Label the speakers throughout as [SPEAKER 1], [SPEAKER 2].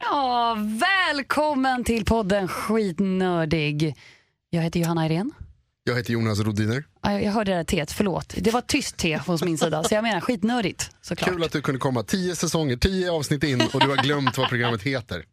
[SPEAKER 1] Ja, välkommen till podden Skitnördig. Jag heter Johanna Irén.
[SPEAKER 2] Jag heter Jonas Rodiner.
[SPEAKER 1] Ja, Jag jag hörde det där teet, förlåt. Det var tyst te hos min sida, så jag menar skitnördigt såklart.
[SPEAKER 2] Kul att du kunde komma. Tio säsonger, tio avsnitt in och du har glömt vad programmet heter.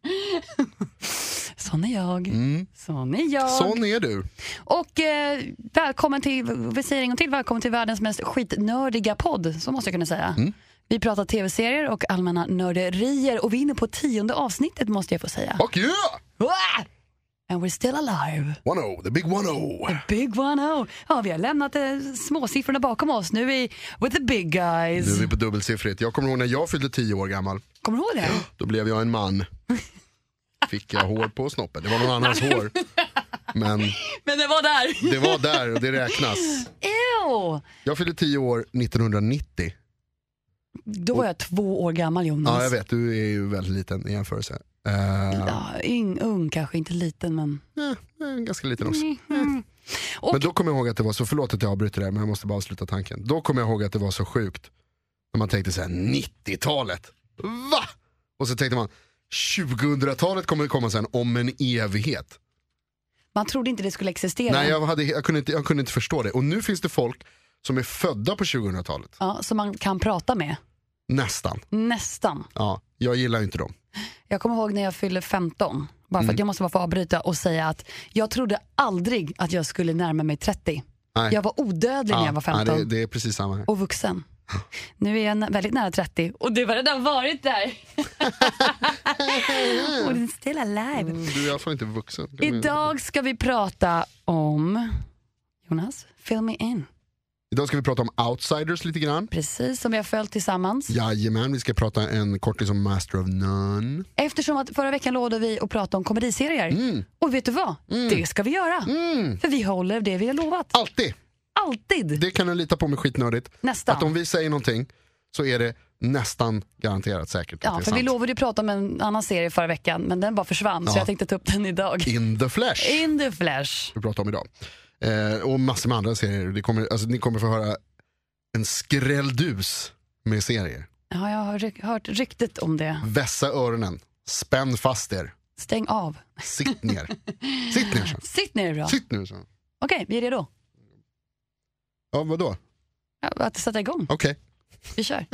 [SPEAKER 1] Sån är jag. Sån är jag.
[SPEAKER 2] Mm. Sån är du.
[SPEAKER 1] Och eh, välkommen till, vi säger en gång till, välkommen till världens mest skitnördiga podd, så måste jag kunna säga.
[SPEAKER 2] Mm.
[SPEAKER 1] Vi pratar tv-serier och allmänna nörderier och vi är inne på tionde avsnittet måste jag få säga.
[SPEAKER 2] Och yeah!
[SPEAKER 1] Ah! And we're still alive.
[SPEAKER 2] One O, the big one O.
[SPEAKER 1] Big one oh. Ja, vi har lämnat eh, småsiffrorna bakom oss. Nu är vi with the big guys.
[SPEAKER 2] Nu är vi på dubbelsiffrigt. Jag kommer ihåg när jag fyllde tio år gammal.
[SPEAKER 1] Kommer du ihåg det?
[SPEAKER 2] Då blev jag en man. Fick jag hår på snoppen. Det var någon annans hår. Men
[SPEAKER 1] Men det var där.
[SPEAKER 2] det var där och det räknas.
[SPEAKER 1] Ew!
[SPEAKER 2] Jag fyllde tio år 1990.
[SPEAKER 1] Då var jag två år gammal Jonas.
[SPEAKER 2] Ja, jag vet. Du är ju väldigt liten i jämförelse. Eh,
[SPEAKER 1] Ja, yng, ung kanske, inte liten men.
[SPEAKER 2] eh, eh, ganska liten också.
[SPEAKER 1] Och-
[SPEAKER 2] Men då kommer jag ihåg att det var så, förlåt att jag avbryter det här men jag måste bara avsluta tanken. Då kommer jag ihåg att det var så sjukt. När man tänkte så här 90-talet, va? Och så tänkte man 2000-talet kommer komma sen om en evighet.
[SPEAKER 1] Man trodde inte det skulle existera.
[SPEAKER 2] Nej jag, hade, jag, kunde inte, jag kunde inte förstå det. Och nu finns det folk som är födda på 2000-talet.
[SPEAKER 1] Ja, som man kan prata med.
[SPEAKER 2] Nästan.
[SPEAKER 1] Nästan.
[SPEAKER 2] Ja, jag gillar ju inte dem.
[SPEAKER 1] Jag kommer ihåg när jag fyllde 15. Bara för
[SPEAKER 2] Mm.
[SPEAKER 1] att jag måste bara få avbryta och säga att jag trodde aldrig att jag skulle närma mig 30.
[SPEAKER 2] Nej.
[SPEAKER 1] Jag var odödlig när jag var 15.
[SPEAKER 2] nej, det, det är precis samma här.
[SPEAKER 1] och vuxen. Nu är jag nä- väldigt nära 30 och du har redan varit där. och den still alive.
[SPEAKER 2] Du är i alla fall inte vuxen.
[SPEAKER 1] Idag ska vi prata om, Jonas, fill me in.
[SPEAKER 2] Idag ska vi prata om outsiders lite grann.
[SPEAKER 1] Precis som vi har följt tillsammans.
[SPEAKER 2] Jajamän, vi ska prata en kortis om Master of None.
[SPEAKER 1] Eftersom att förra veckan lovade vi att prata om komediserier.
[SPEAKER 2] Mm.
[SPEAKER 1] Och vet du vad? Det ska vi göra. För vi håller det vi har lovat.
[SPEAKER 2] Alltid!
[SPEAKER 1] Alltid.
[SPEAKER 2] Det kan du lita på med skitnördigt.
[SPEAKER 1] Nästan.
[SPEAKER 2] Att om vi säger någonting så är det nästan garanterat säkert
[SPEAKER 1] Ja,
[SPEAKER 2] att
[SPEAKER 1] för
[SPEAKER 2] det är
[SPEAKER 1] vi
[SPEAKER 2] sant.
[SPEAKER 1] lovade ju prata om en annan serie förra veckan men den bara försvann så
[SPEAKER 2] Ja.
[SPEAKER 1] jag tänkte ta upp den idag.
[SPEAKER 2] In the flesh,
[SPEAKER 1] In the flash.
[SPEAKER 2] vi pratar om idag. Eh, och massor med andra serier. Det kommer, alltså, ni kommer få höra en skrälldus med serier.
[SPEAKER 1] Ja, jag har ry- hört ryktet om det.
[SPEAKER 2] Vässa öronen, spänn fast er,
[SPEAKER 1] Stäng av.
[SPEAKER 2] sitt ner. sitt ner sen.
[SPEAKER 1] Sitt ner då.
[SPEAKER 2] Sitt nu sen.
[SPEAKER 1] Okej, vi är redo.
[SPEAKER 2] Ja, vadå?
[SPEAKER 1] Ja, Att sätta igång.
[SPEAKER 2] Okej.
[SPEAKER 1] Vi kör.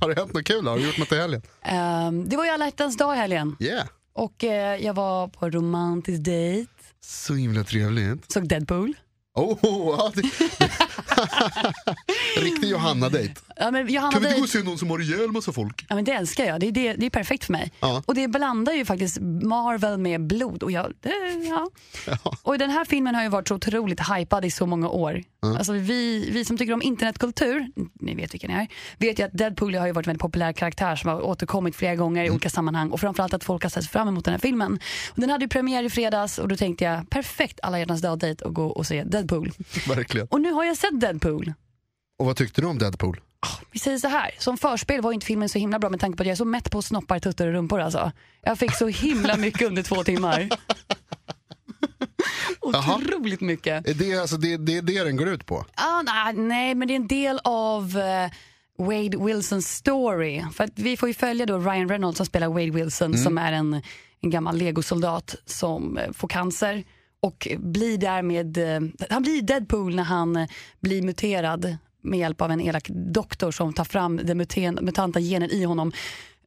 [SPEAKER 2] Har det hänt något kul? då? Har du gjort något i helgen?
[SPEAKER 1] Ehm, det var ju alla hjärtans dag i helgen
[SPEAKER 2] Yeah.
[SPEAKER 1] och eh, jag var på romantisk dejt,
[SPEAKER 2] Så himla trevligt.
[SPEAKER 1] såg Deadpool.
[SPEAKER 2] Oh, ja, det... Riktig Johanna-dejt.
[SPEAKER 1] Ja, men Johanna
[SPEAKER 2] Kan vi inte gå
[SPEAKER 1] dejt,
[SPEAKER 2] och se någon som har ihjäl massa folk?
[SPEAKER 1] ja, men det älskar jag, det är, det, det är perfekt för mig.
[SPEAKER 2] Ja.
[SPEAKER 1] Och det blandar ju faktiskt Marvel med blod. Och, jag, eh, ja.
[SPEAKER 2] Ja.
[SPEAKER 1] och den här filmen har ju varit så otroligt hypad i så många år. Alltså vi, vi som tycker om internetkultur, ni vet vilken jag är, vet ju att Deadpool har ju varit en väldigt populär karaktär som har återkommit flera gånger i olika sammanhang och framförallt att folk har sett fram emot den här filmen. Och den hade ju premiär i fredags och då tänkte jag perfekt alla hjärtans dag-dejt och gå och se Deadpool.
[SPEAKER 2] Verkligen.
[SPEAKER 1] Och nu har jag sett Deadpool.
[SPEAKER 2] Och vad tyckte du om Deadpool?
[SPEAKER 1] Vi säger så här, som förspel var inte filmen så himla bra med tanke på att jag är så mätt på snoppar, tuttar och rumpor alltså. Jag fick så himla mycket under två timmar. Otroligt mycket.
[SPEAKER 2] Är Det, alltså, det, det är det den går ut på.
[SPEAKER 1] Ah, na- nej, men det är en del av eh, Wade Wilsons story. För att vi får ju följa då Ryan Reynolds som spelar Wade Wilson
[SPEAKER 2] Mm.
[SPEAKER 1] som är en, en gammal legosoldat som eh, får cancer och blir därmed, eh, han blir Deadpool när han eh, blir muterad med hjälp av en elak doktor som tar fram den muten, mutanta genen i honom.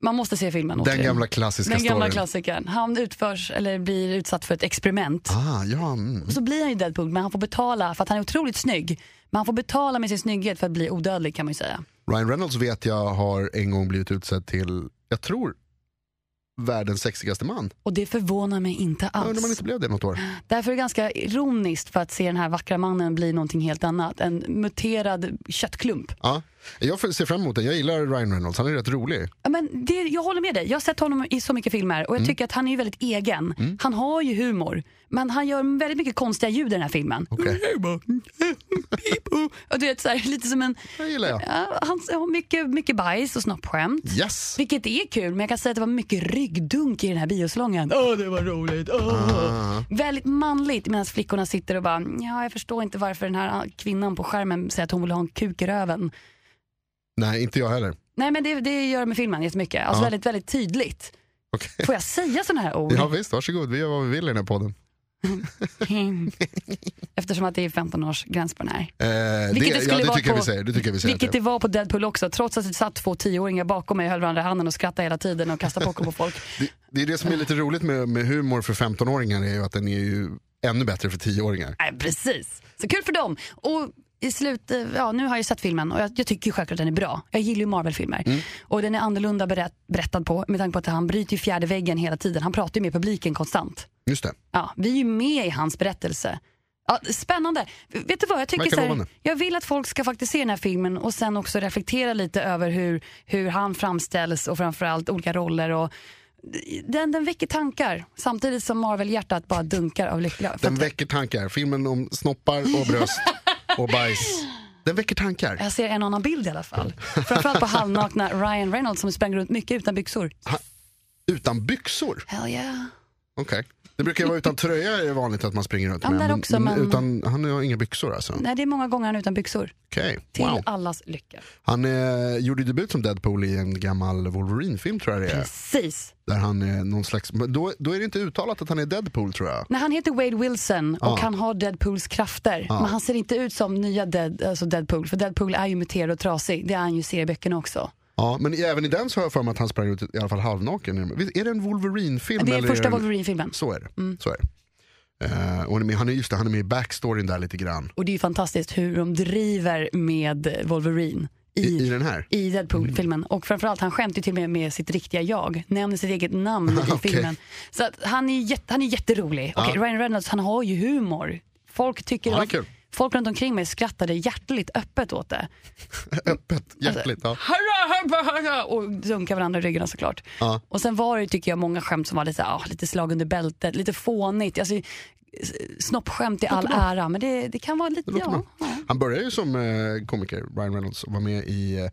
[SPEAKER 1] Man måste se filmen.
[SPEAKER 2] Den
[SPEAKER 1] återigen.
[SPEAKER 2] gamla klassiska
[SPEAKER 1] den gamla
[SPEAKER 2] storyn.
[SPEAKER 1] klassikern. Han utförs, eller blir utsatt för ett experiment.
[SPEAKER 2] ah, ja, mm.
[SPEAKER 1] Och så blir han ju Deadpool, men han får betala för att han är otroligt snygg. Men han får betala med sin snygghet för att bli odödlig kan man ju säga.
[SPEAKER 2] Ryan Reynolds vet jag har en gång blivit utsedd till, jag tror, världens sexigaste man.
[SPEAKER 1] Och det förvånar mig inte
[SPEAKER 2] Jag undrar om han
[SPEAKER 1] alls.
[SPEAKER 2] inte blev det något år.
[SPEAKER 1] Därför är det ganska ironiskt för att se den här vackra mannen bli någonting helt annat. En muterad köttklump.
[SPEAKER 2] Ja. Jag får- ser fram emot den, jag gillar Ryan Reynolds, han är rätt rolig.
[SPEAKER 1] Ja, men det, jag håller med dig, jag har sett honom i så mycket filmer och
[SPEAKER 2] Mm.
[SPEAKER 1] jag tycker att han är ju väldigt egen. Han har ju humor, men han gör väldigt mycket konstiga ljud i den här filmen. Mm,
[SPEAKER 2] Okej.
[SPEAKER 1] oh. Och du vet, så här, lite som en...
[SPEAKER 2] Det gillar jag.
[SPEAKER 1] Ja, han har mycket, mycket bajs och snoppskämt.
[SPEAKER 2] Yes!
[SPEAKER 1] Vilket är kul, men jag kan säga att det var mycket ryggdunk i den här biosalongen. Åh, det var roligt. Åh.
[SPEAKER 2] Ah.
[SPEAKER 1] Väldigt manligt medan flickorna sitter och bara, ja, jag förstår inte varför den här ah, kvinnan på skärmen säger att hon vill ha en kuk i röven.
[SPEAKER 2] Nej, inte jag heller.
[SPEAKER 1] Nej, men det, det gör det med filmen jättemycket. Alltså
[SPEAKER 2] Ja.
[SPEAKER 1] väldigt, väldigt tydligt.
[SPEAKER 2] Okej.
[SPEAKER 1] Får jag säga sådana här ord?
[SPEAKER 2] Ja visst, varsågod. Vi gör vad vi vill i den här podden. Eh,
[SPEAKER 1] Eftersom att det är 15 års gräns på den här.
[SPEAKER 2] Eh,
[SPEAKER 1] Vilket det
[SPEAKER 2] det, ja,
[SPEAKER 1] skulle
[SPEAKER 2] det
[SPEAKER 1] vara
[SPEAKER 2] tycker jag
[SPEAKER 1] på-
[SPEAKER 2] vi säger. Det tycker jag vi säger att
[SPEAKER 1] Vilket
[SPEAKER 2] det
[SPEAKER 1] det var på Deadpool också, trots att det satt två tioåringar bakom mig och höll varandra i handen och skrattade hela tiden och kastade popcorn på folk.
[SPEAKER 2] är. det, det är det som är lite roligt med, med humor för 15-åringar är ju att den är ju ännu bättre för 10-åringar.
[SPEAKER 1] Nej, precis. Så kul för dem. Och i slut, eh, ja, nu har jag ju sett filmen och jag, jag tycker ju självklart att den är bra. Jag gillar ju Marvel-filmer.
[SPEAKER 2] Mm.
[SPEAKER 1] Och den är annorlunda berätt, berättad på med tanke på att han bryter ju fjärde väggen hela tiden. Han pratar ju med publiken konstant.
[SPEAKER 2] Just det.
[SPEAKER 1] Ja, vi är ju med i hans berättelse. Ja, spännande. Vet du vad, jag tycker
[SPEAKER 2] Verkar
[SPEAKER 1] så här,
[SPEAKER 2] lovande.
[SPEAKER 1] jag vill att folk ska faktiskt se den här filmen och sen också reflektera lite över hur, hur han framställs och framförallt olika roller. Och, den, den väcker tankar samtidigt som Marvel-hjärtat bara dunkar av lycka. För
[SPEAKER 2] Den
[SPEAKER 1] att-
[SPEAKER 2] väcker tankar. Filmen om snoppar och bröst och bajs. Den väcker tankar.
[SPEAKER 1] Jag ser en annan bild i alla fall. Framförallt på halvnakna Ryan Reynolds som sprang runt mycket utan byxor.
[SPEAKER 2] Utan byxor?
[SPEAKER 1] Hell yeah.
[SPEAKER 2] Okej. Det brukar ju vara utan tröja är det vanligt att man springer runt
[SPEAKER 1] Ja, där också, men-
[SPEAKER 2] Utan, han har inga byxor alltså?
[SPEAKER 1] Nej, det är många gånger han är utan byxor.
[SPEAKER 2] Okej,
[SPEAKER 1] Till
[SPEAKER 2] wow.
[SPEAKER 1] allas lycka.
[SPEAKER 2] Han eh, gjorde ju debut som Deadpool i en gammal Wolverine-film tror jag det är.
[SPEAKER 1] Precis.
[SPEAKER 2] Där han är någon slags, men då, då är det inte uttalat att han är Deadpool tror jag.
[SPEAKER 1] När han heter Wade Wilson och han har Deadpools krafter. Men han ser inte ut som nya Dead, alltså Deadpool. För Deadpool är ju muterad och trasig. Det är han ju i serieböckerna också.
[SPEAKER 2] Ja, men i- även i den så har jag för mig att han sprang ut i alla fall halvnaken. Visst, Är det en Wolverine-film?
[SPEAKER 1] Det är
[SPEAKER 2] eller
[SPEAKER 1] första Mm.
[SPEAKER 2] det en-
[SPEAKER 1] Wolverine-filmen.
[SPEAKER 2] Så är det. Så är det. Eh, och han är med, han är, just det, han är med i backstoryn där lite grann.
[SPEAKER 1] Och det är ju fantastiskt hur de driver med Wolverine i,
[SPEAKER 2] I, i den här.
[SPEAKER 1] i Deadpool-filmen. Och framförallt, han skämtar ju till och med med sitt riktiga jag. Nämner sitt eget namn i
[SPEAKER 2] Okej.
[SPEAKER 1] filmen. Så att han, är jätte, han är jätterolig. Okej, Ryan Reynolds, han har ju humor. Folk tycker
[SPEAKER 2] Han är
[SPEAKER 1] att-
[SPEAKER 2] kul.
[SPEAKER 1] Folk runt omkring mig skrattade hjärtligt öppet åt det. Alltså-
[SPEAKER 2] Öppet, hjärtligt. Ja.
[SPEAKER 1] Hurra, hurra, hurra, och dunkar varandra i ryggarna såklart.
[SPEAKER 2] Ja.
[SPEAKER 1] Och sen var det tycker jag många skämt som var lite, ah, lite slag under bältet, lite fånigt. Alltså, s- snoppskämt i all ära, men det, det kan vara lite...
[SPEAKER 2] låter
[SPEAKER 1] Ja,
[SPEAKER 2] bra.
[SPEAKER 1] ja.
[SPEAKER 2] Han började ju som eh, komiker, Ryan Reynolds, och var med i eh,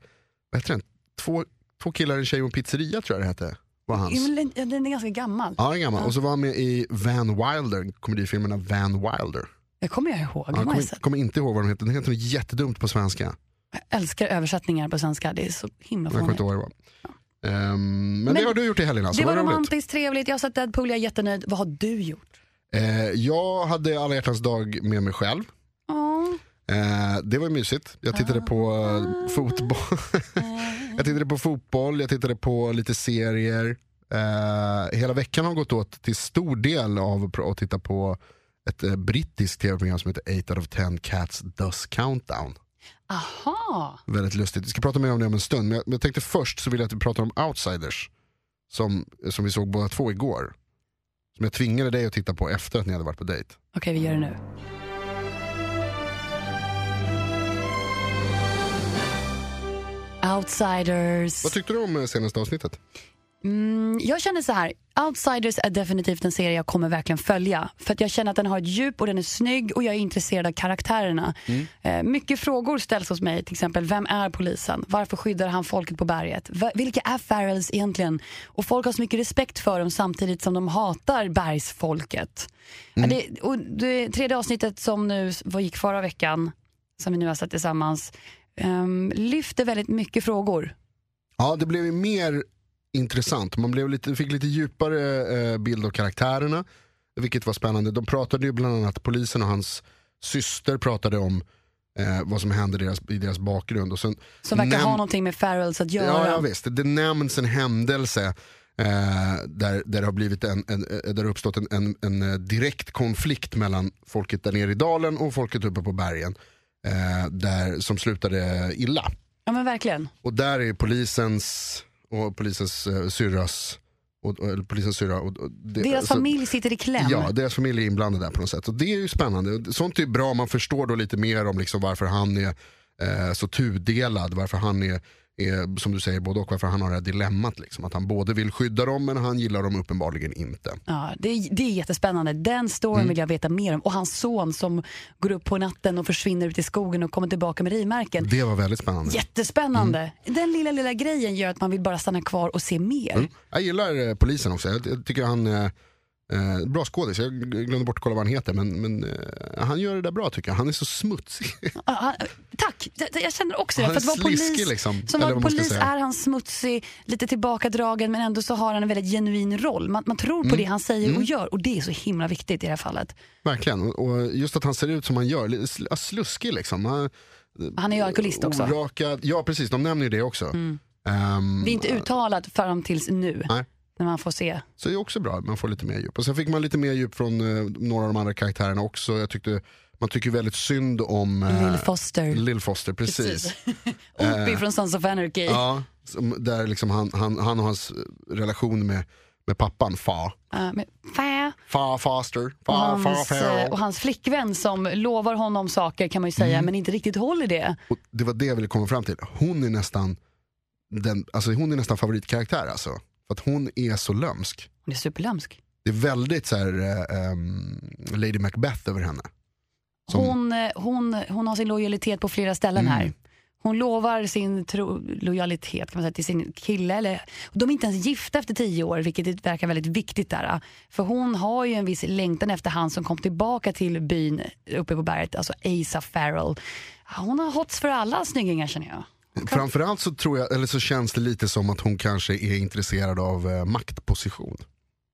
[SPEAKER 2] vad heter den? Två, två killar, en tjej och en pizzeria tror jag det hette. Var hans.
[SPEAKER 1] Det är väl en- ja, Den är ganska gammal.
[SPEAKER 2] Ja, den är gammal. Och så var han med i Van Wilder, komedifilmerna Van Wilder.
[SPEAKER 1] Det kommer jag ihåg.
[SPEAKER 2] Ja,
[SPEAKER 1] den
[SPEAKER 2] Jag
[SPEAKER 1] har jag
[SPEAKER 2] kommer,
[SPEAKER 1] sett.
[SPEAKER 2] kommer inte ihåg vad de heter, den heter något jättedumt på svenska.
[SPEAKER 1] Jag älskar översättningar på svenska, det är så himla
[SPEAKER 2] Jag kommer
[SPEAKER 1] fånigt.
[SPEAKER 2] inte ihåg vad det var. Ehm, men, det
[SPEAKER 1] Men-
[SPEAKER 2] har du gjort i helgen alltså,
[SPEAKER 1] det var
[SPEAKER 2] vad roligt.
[SPEAKER 1] romantiskt, trevligt, jag har sett Deadpool, jag är jättenöjd. Vad har du gjort?
[SPEAKER 2] Eh, jag hade alla hjärtans dag med mig själv.
[SPEAKER 1] Åh,
[SPEAKER 2] Eh, det var mysigt. Jag
[SPEAKER 1] Ah.
[SPEAKER 2] tittade på eh, fotboll.
[SPEAKER 1] Eh,
[SPEAKER 2] jag tittade på fotboll, jag tittade på lite serier. Eh, hela veckan har gått åt till stor del av att pr- att titta på ett eh, brittiskt tv-program som heter 8 out of 10 Cats Does Countdown.
[SPEAKER 1] Aha!
[SPEAKER 2] Väldigt lustigt. Vi ska prata mer om det om en stund. Men jag, men jag tänkte först så vill jag att vi pratar om Outsiders. Som, som vi såg båda två igår. Som jag tvingade dig att titta på efter att ni hade varit på dejt.
[SPEAKER 1] Okej, vi gör det nu. Outsiders.
[SPEAKER 2] Vad tyckte du om eh, senaste avsnittet?
[SPEAKER 1] Mm, jag känner så här, Outsiders är definitivt en serie jag kommer verkligen följa. För att jag känner att den har ett djup och den är snygg och jag är intresserad av karaktärerna. Eh, mycket frågor ställs hos mig, till exempel vem är polisen? Varför skyddar han folket på berget? Va- vilka är Farrells egentligen? Och folk har så mycket respekt för dem samtidigt som de hatar bergsfolket. Ja, det, och det tredje avsnittet som nu s- vad gick förra veckan, som vi nu har sett tillsammans, ehm, lyfter väldigt mycket frågor.
[SPEAKER 2] Ja, det blev ju mer intressant. Man blev lite, fick lite djupare eh, bild av karaktärerna, vilket var spännande. De pratade ju bland annat, polisen och hans syster pratade om eh, vad som hände deras, i deras bakgrund. Och sen,
[SPEAKER 1] Som verkar ha
[SPEAKER 2] näm-
[SPEAKER 1] någonting med Farrells att göra.
[SPEAKER 2] Ja, ja visst. Det nämns en händelse eh, där, där det har blivit en, en, eh, där det uppstått en, en, en eh, direkt konflikt mellan folket där nere i dalen och folket uppe på bergen. Eh, där, som slutade illa.
[SPEAKER 1] Ja men verkligen.
[SPEAKER 2] Och där är polisens och polisens eh, syrras och, och, eller polisens syrra och, och det-
[SPEAKER 1] Deras
[SPEAKER 2] alltså-
[SPEAKER 1] familj sitter i kläm.
[SPEAKER 2] Ja, deras familj är inblandad där på något sätt. Och det är ju spännande. Och Sånt är ju bra, man förstår då lite mer om liksom varför han är eh, så tudelad. Varför han är, är, som du säger, både och. Varför han har det här dilemmat. Liksom. Att han både vill skydda dem, men han gillar dem uppenbarligen inte.
[SPEAKER 1] Ja, det, är- det är jättespännande. Den storyn
[SPEAKER 2] Mm.
[SPEAKER 1] vill jag veta mer om. Och hans son som går upp på natten och försvinner ut i skogen och kommer tillbaka med rimärken.
[SPEAKER 2] Det var väldigt spännande.
[SPEAKER 1] Jättespännande.
[SPEAKER 2] Mm.
[SPEAKER 1] Den lilla, lilla grejen gör att man vill bara stanna kvar och se mer.
[SPEAKER 2] Jag gillar eh, polisen också. Jag, jag tycker han... Eh, Eh, bra skådis, jag glömde bort att kolla vad han heter men, men eh, han gör det där bra tycker jag. Han är så smutsig.
[SPEAKER 1] Ja, han- tack! slisk. Jag, jag känner också det.
[SPEAKER 2] Han
[SPEAKER 1] För att
[SPEAKER 2] är
[SPEAKER 1] vara
[SPEAKER 2] sliskig
[SPEAKER 1] polis,
[SPEAKER 2] liksom.
[SPEAKER 1] som
[SPEAKER 2] eller
[SPEAKER 1] var
[SPEAKER 2] vad man ska
[SPEAKER 1] polis
[SPEAKER 2] säga.
[SPEAKER 1] är han smutsig, lite tillbakadragen men ändå så har han en väldigt genuin roll. Man, man tror på
[SPEAKER 2] Mm.
[SPEAKER 1] det han säger och gör och det är så himla viktigt i det här fallet.
[SPEAKER 2] Verkligen. Och- Och just att han ser ut som han gör, li- sl- ja, sluskig liksom. Han,
[SPEAKER 1] Han är ju alkoholist också. Mm.
[SPEAKER 2] Orakad. Ja precis, de nämner ju det också. Ehm,
[SPEAKER 1] Det är inte uttalat förrän tills nu.
[SPEAKER 2] Nej.
[SPEAKER 1] När man får se.
[SPEAKER 2] Så det är också bra, man får lite mer djup. Och sen fick man lite mer djup från eh, några av de andra karaktärerna också. Jag tyckte, man tycker väldigt synd om eh,
[SPEAKER 1] Lill Foster.
[SPEAKER 2] Lill Foster, precis. Eh,
[SPEAKER 1] Opie från Sons of Anarchy.
[SPEAKER 2] Ja, som, där liksom han, han, han och hans eh, relation med, med pappan, fa.
[SPEAKER 1] Ja, Eh, men fä.
[SPEAKER 2] Fa Foster.
[SPEAKER 1] Och
[SPEAKER 2] Fa, fa,
[SPEAKER 1] hans, eh, och
[SPEAKER 2] fa.
[SPEAKER 1] hans flickvän som lovar honom saker kan man ju säga
[SPEAKER 2] Mm.
[SPEAKER 1] men inte riktigt håller det.
[SPEAKER 2] Och det var det jag ville komma fram till. Hon är nästan, den, alltså hon är nästan favoritkaraktär alltså. För att hon är så lömsk.
[SPEAKER 1] Hon är superlömsk.
[SPEAKER 2] Det är väldigt så här, eh, ehm, Lady Macbeth över henne. Som- Mm.
[SPEAKER 1] Hon, eh, hon, hon har sin lojalitet på flera ställen här. Hon lovar sin tro, lojalitet kan man säga, till sin kille. Eller, de är inte ens gifta efter tio år, vilket det verkar väldigt viktigt. där. eh. För Hon har ju en viss längtan efter han som kom tillbaka till byn uppe på berget, alltså Asa Farrell. Hon har hots för alla snyggingar känner jag.
[SPEAKER 2] Framförallt så, tror jag, eller så känns det lite som att hon kanske är intresserad av eh, maktposition.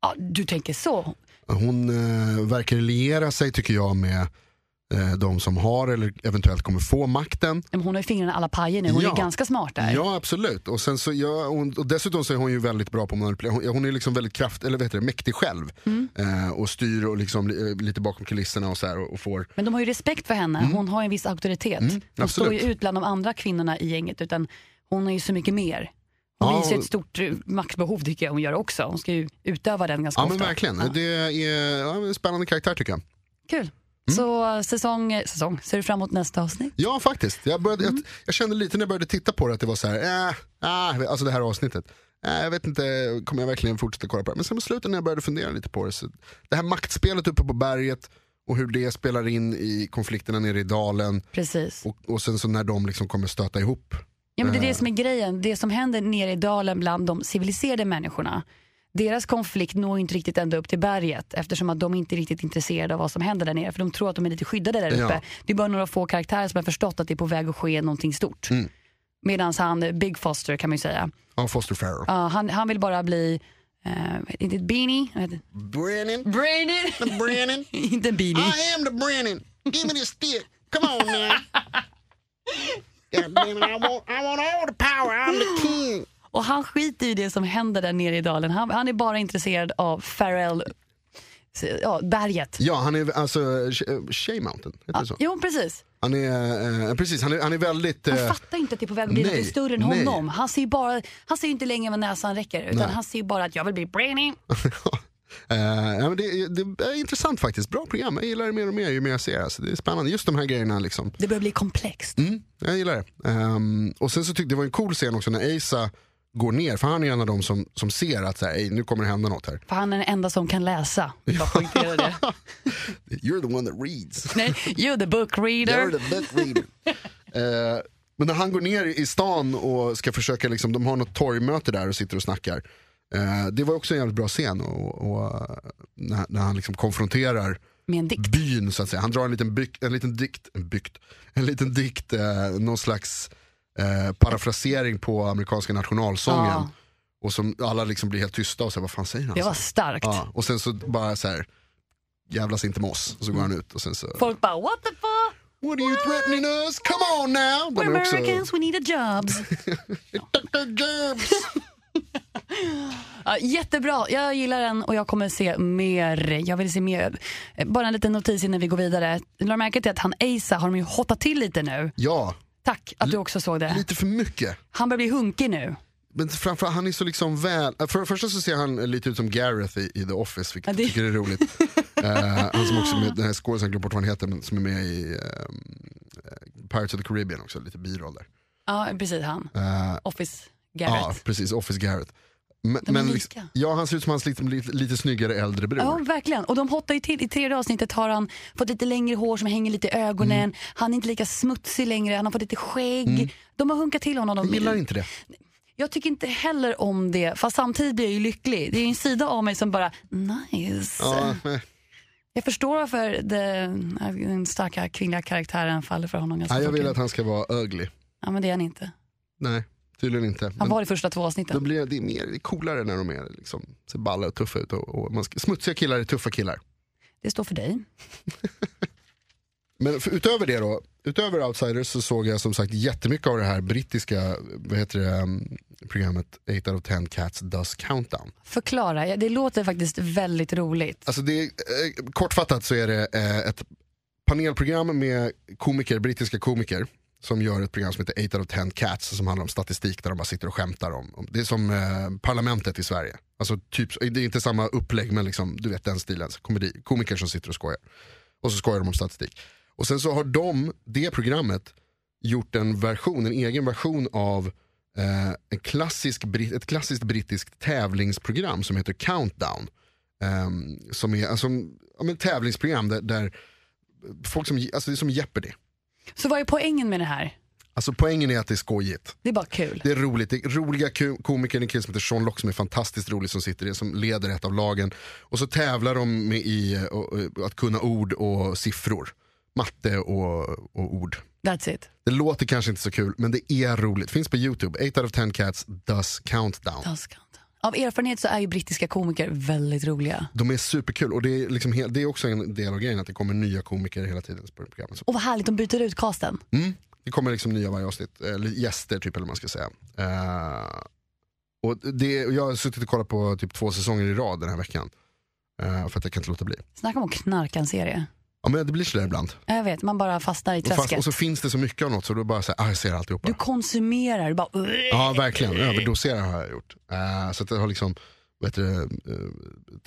[SPEAKER 1] Ja, du tänker så?
[SPEAKER 2] Hon eh, verkar liera sig tycker jag med eh, de som har eller eventuellt kommer få makten.
[SPEAKER 1] Men Hon har ju fingrarna i alla pajer nu, hon
[SPEAKER 2] Ja.
[SPEAKER 1] är ganska smart där.
[SPEAKER 2] Ja absolut. Och, sen så, ja, hon, och dessutom så är hon ju väldigt bra på manipulation. Hon, hon är liksom väldigt kraft, eller vad heter det, mäktig själv. Eh, och styr och liksom, li- eh, lite bakom kulisserna och så här och, och får.
[SPEAKER 1] Men de har ju respekt för henne, hon har en viss auktoritet. hon
[SPEAKER 2] Mm. absolut.
[SPEAKER 1] står ju ut bland de andra kvinnorna i gänget utan hon är ju så mycket mer. Hon
[SPEAKER 2] Ja,
[SPEAKER 1] visar
[SPEAKER 2] och-
[SPEAKER 1] ett stort eh, maktbehov tycker jag hon gör också. Hon ska ju utöva den ganska
[SPEAKER 2] Ja men
[SPEAKER 1] ofta.
[SPEAKER 2] verkligen.
[SPEAKER 1] Ja.
[SPEAKER 2] Det är ja, en spännande karaktär tycker jag.
[SPEAKER 1] Kul.
[SPEAKER 2] Mm.
[SPEAKER 1] Så säsong, eh, säsong, ser du fram emot nästa avsnitt?
[SPEAKER 2] Ja faktiskt. Jag, började, jag, jag kände lite när jag började titta på det att det var så här, äh, äh, alltså det här avsnittet. Äh, jag vet inte, kommer jag verkligen fortsätta kolla på det? Men sen på slutet när jag började fundera lite på det. Så det här maktspelet uppe på berget och hur det spelar in i konflikterna nere i dalen.
[SPEAKER 1] Precis.
[SPEAKER 2] Och, och sen så när de liksom kommer stöta ihop.
[SPEAKER 1] Ja, men det är
[SPEAKER 2] Eh.
[SPEAKER 1] det som är grejen. Det som händer nere i dalen bland de civiliserade människorna. Deras konflikt når ju inte riktigt ända upp till berget eftersom att de inte är riktigt intresserade av vad som händer där nere. För de tror att de är lite skyddade där
[SPEAKER 2] Ja.
[SPEAKER 1] uppe. Det är bara några få karaktärer som har förstått att det är på väg att ske någonting stort.
[SPEAKER 2] Mm.
[SPEAKER 1] Medan han, Big Foster kan man ju säga,
[SPEAKER 2] Ja, Foster Farrow.
[SPEAKER 1] ja, han, han vill bara bli, eh, inte ett beanie, vad heter det?
[SPEAKER 2] Brennan,
[SPEAKER 1] Brainy!
[SPEAKER 2] Brennan,
[SPEAKER 1] inte en beanie.
[SPEAKER 2] I am the Brennan. Give me the stick. Come on now. God damn it, I want, I want all the power. I'm the king.
[SPEAKER 1] Och han skiter i det som händer där nere i dalen. Han, han är bara intresserad av Farrell, ja, berget.
[SPEAKER 2] Ja, han är alltså Sh- Shay Mountain, heter det så?
[SPEAKER 1] Jo, precis.
[SPEAKER 2] Han är, eh, precis, han är, han är väldigt...
[SPEAKER 1] Han
[SPEAKER 2] eh,
[SPEAKER 1] fattar inte att det är på väg att bli
[SPEAKER 2] nej,
[SPEAKER 1] något större än
[SPEAKER 2] nej.
[SPEAKER 1] honom. Han ser ju bara, han ser ju inte längre vad näsan räcker utan han ser ju bara att jag vill bli brainy.
[SPEAKER 2] eh, ja, men det, är- det är intressant faktiskt. Bra program. Jag gillar det mer och mer ju mer jag ser. det. Alltså, det är spännande. Just de här grejerna. Liksom.
[SPEAKER 1] Det börjar bli komplext.
[SPEAKER 2] Mm, jag gillar det. Ehm, och sen så tyckte jag det var en cool scen också när Asa går ner. För han är en av dem som, som ser att så här, "Ey, nu kommer det hända något här.
[SPEAKER 1] För han är den enda som kan läsa. Jag poängterar det.
[SPEAKER 2] You're the one that reads.
[SPEAKER 1] Nej, you the book reader.
[SPEAKER 2] You're the book reader. Eh, men när han går ner i stan och ska försöka, liksom, de har något torgmöte där och sitter och snackar. Eh, det var också en jävligt bra scen och, och, eh, när, när han liksom konfronterar
[SPEAKER 1] Med en dikt.
[SPEAKER 2] byn så att säga. Han drar en liten, byk, en liten dikt, en bykt, en liten dikt, eh, någon slags eh, parafrasering på amerikanska nationalsången.
[SPEAKER 1] Ja.
[SPEAKER 2] Och som alla liksom blir helt tysta och säger vad fan säger han?
[SPEAKER 1] Det var
[SPEAKER 2] Så-
[SPEAKER 1] starkt.
[SPEAKER 2] ja, och sen så bara så här, jävlas inte med oss. Och så går
[SPEAKER 1] Mm.
[SPEAKER 2] han ut och sen så,
[SPEAKER 1] Folk bara what the fuck?
[SPEAKER 2] what are you threatening us? Come on now!
[SPEAKER 1] We're
[SPEAKER 2] Den är också-
[SPEAKER 1] Americans, we need a jobs.
[SPEAKER 2] Dr. Jobs!
[SPEAKER 1] Ja, jättebra, jag gillar den och jag kommer se mer. Jag vill se mer. Eh, Bara en liten notis innan vi går vidare. Lade du märke till att han Asa har de ju hottat till lite nu.
[SPEAKER 2] ja,
[SPEAKER 1] Tack att du också såg det.
[SPEAKER 2] lite för mycket.
[SPEAKER 1] Han börjar bli hunkig nu.
[SPEAKER 2] Men framförallt, han är så liksom väl, för det första så ser han lite ut som Gareth i, i The Office, vilket
[SPEAKER 1] Ja, det-
[SPEAKER 2] jag tycker är roligt. Eh, han som också är med, den här skådisen, jag glömde bort vad han heter, men som är med i ehm, eh, Pirates of the Caribbean också, lite biroll där.
[SPEAKER 1] Ja, precis han.
[SPEAKER 2] Eh,
[SPEAKER 1] Office
[SPEAKER 2] ja,
[SPEAKER 1] Garrett.
[SPEAKER 2] precis, Office Gareth. Men,
[SPEAKER 1] De är lika.
[SPEAKER 2] liksom, ja, han ser ut som hans lite, lite, lite snyggare äldre bror.
[SPEAKER 1] Ja, verkligen. Och de hottar ju till. I tredje avsnittet har han fått lite längre hår som hänger lite i ögonen.
[SPEAKER 2] Mm.
[SPEAKER 1] Han är inte lika smutsig längre. Han har fått lite skägg. De har hunkat till honom.
[SPEAKER 2] Jag
[SPEAKER 1] De,
[SPEAKER 2] gillar inte det.
[SPEAKER 1] Jag tycker inte heller om det, fast samtidigt blir jag ju lycklig. Det är ju en sida av mig som bara, nice.
[SPEAKER 2] Ja, eh,
[SPEAKER 1] Jag förstår varför det, den starka kvinnliga karaktären faller för honom ganska
[SPEAKER 2] Nej, jag
[SPEAKER 1] fort.
[SPEAKER 2] vill att han ska vara ugly.
[SPEAKER 1] Ja, men det är han inte.
[SPEAKER 2] Nej, tydligen inte.
[SPEAKER 1] Han
[SPEAKER 2] Men
[SPEAKER 1] var i första två
[SPEAKER 2] då
[SPEAKER 1] avsnitten.
[SPEAKER 2] blir det, är mer, det är coolare när de är liksom, ser balla och tuffa ut. Och, och man ska, smutsiga killar är tuffa killar.
[SPEAKER 1] Det står för dig.
[SPEAKER 2] Men för, utöver det då, utöver Outsiders så såg jag som sagt jättemycket av det här brittiska vad heter det, ehm, programmet 8 out of 10 Cats Does Countdown.
[SPEAKER 1] Förklara, Ja, det låter faktiskt väldigt roligt.
[SPEAKER 2] Alltså det, är, eh, kortfattat så är det eh, ett panelprogram med komiker, brittiska komiker som gör ett program som heter 8 out of 10 Cats som handlar om statistik där de bara sitter och skämtar om. om- Det är som eh, parlamentet i Sverige. Alltså typ, det är inte samma upplägg men liksom, du vet den stilen. Så Komedi, komiker som sitter och skojar. Och så skojar de om statistik. Och sen så har de, det programmet, gjort en version, en egen version av eh, en klassisk, brit- ett klassiskt brittiskt tävlingsprogram som heter Countdown. Ehm, som är alltså, ja, men tävlingsprogram där, där folk som, alltså det är som Jeopardy.
[SPEAKER 1] Så vad är poängen med det här?
[SPEAKER 2] Alltså poängen är att det är skojigt.
[SPEAKER 1] Det är bara kul.
[SPEAKER 2] Det är roligt. Det är roliga ku- komiker, det är en kille som heter Sean Locke som är fantastiskt rolig som sitter i, som leder ett av lagen. Och så tävlar de med i eh, och, och, att kunna ord och siffror. Matte och, och ord.
[SPEAKER 1] That's it.
[SPEAKER 2] Det låter kanske inte så kul, men det är roligt. Finns på YouTube. 8 out of 10 cats does countdown.
[SPEAKER 1] Does count. Av erfarenhet så är ju brittiska komiker väldigt roliga.
[SPEAKER 2] De är superkul och det är, liksom, he- det är också en del av grejen att det kommer nya komiker hela tiden på programmet. Så,
[SPEAKER 1] Och vad härligt, de byter ut casten.
[SPEAKER 2] mm, det kommer liksom nya varje avsnitt, eller gäster typ eller vad man ska säga. Eh, och det, och jag har suttit och kollat på typ två säsonger i rad den här veckan. Eh, för att jag kan inte låta bli.
[SPEAKER 1] Snacka om att knarka en serie.
[SPEAKER 2] Ja men det blir sådär ibland.
[SPEAKER 1] Ja, Jag vet, man bara fastnar i
[SPEAKER 2] Och, fast,
[SPEAKER 1] träsket.
[SPEAKER 2] och så finns det så mycket av något så då bara såhär, ah, jag ser alltihopa.
[SPEAKER 1] Du konsumerar, du bara...
[SPEAKER 2] Ja, verkligen. Överdoserar har jag gjort. Eh, så att jag har liksom vet du, eh,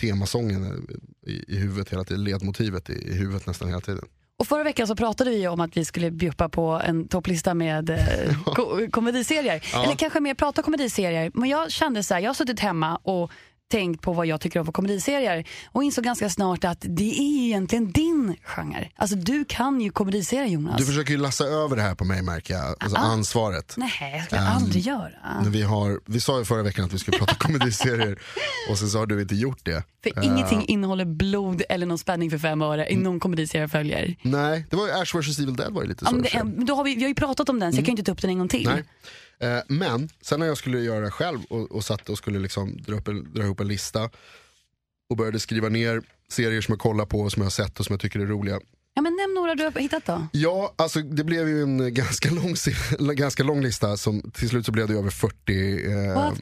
[SPEAKER 2] temasången eh, i, i huvudet hela tiden, ledmotivet i, i huvudet nästan hela tiden.
[SPEAKER 1] Och förra veckan så pratade vi ju om att vi skulle bjuppa på en topplista med eh, ko- komediserier.
[SPEAKER 2] Ja.
[SPEAKER 1] Eller kanske mer prata komediserier. Men jag kände så här, jag har suttit hemma och tänkt på vad jag tycker om för komediserier och insåg ganska snart att det är ju egentligen din genre. Alltså du kan ju komediserier Jonas.
[SPEAKER 2] Du försöker ju lassa över det här på mig märker jag, alltså ansvaret.
[SPEAKER 1] Nej, jag skulle jag aldrig göra.
[SPEAKER 2] När Vi, har, vi sa ju förra veckan att vi skulle prata komediserier och sen så har du inte gjort det.
[SPEAKER 1] För ingenting innehåller blod eller någon spänning för fem öre
[SPEAKER 2] Mm.
[SPEAKER 1] i någon komediserie jag följer.
[SPEAKER 2] Nej, det var ju Ash vs Evil Dead var ju lite
[SPEAKER 1] Ja,
[SPEAKER 2] så.
[SPEAKER 1] men
[SPEAKER 2] i
[SPEAKER 1] det,
[SPEAKER 2] och för sig.
[SPEAKER 1] men då har vi, vi har ju pratat om den så jag kan ju inte ta upp den en gång till.
[SPEAKER 2] Mm. Nej. Eh, men sen när jag skulle göra det själv och, och satt och skulle liksom dra, upp en, dra ihop en lista och började skriva ner serier som jag kollar på, som jag har sett och som jag tycker är roliga.
[SPEAKER 1] Ja, men nämn några du har hittat då.
[SPEAKER 2] Ja, alltså det blev ju en eh, ganska lång, se- ganska lång lista som till slut så blev det över 40, eh,
[SPEAKER 1] What?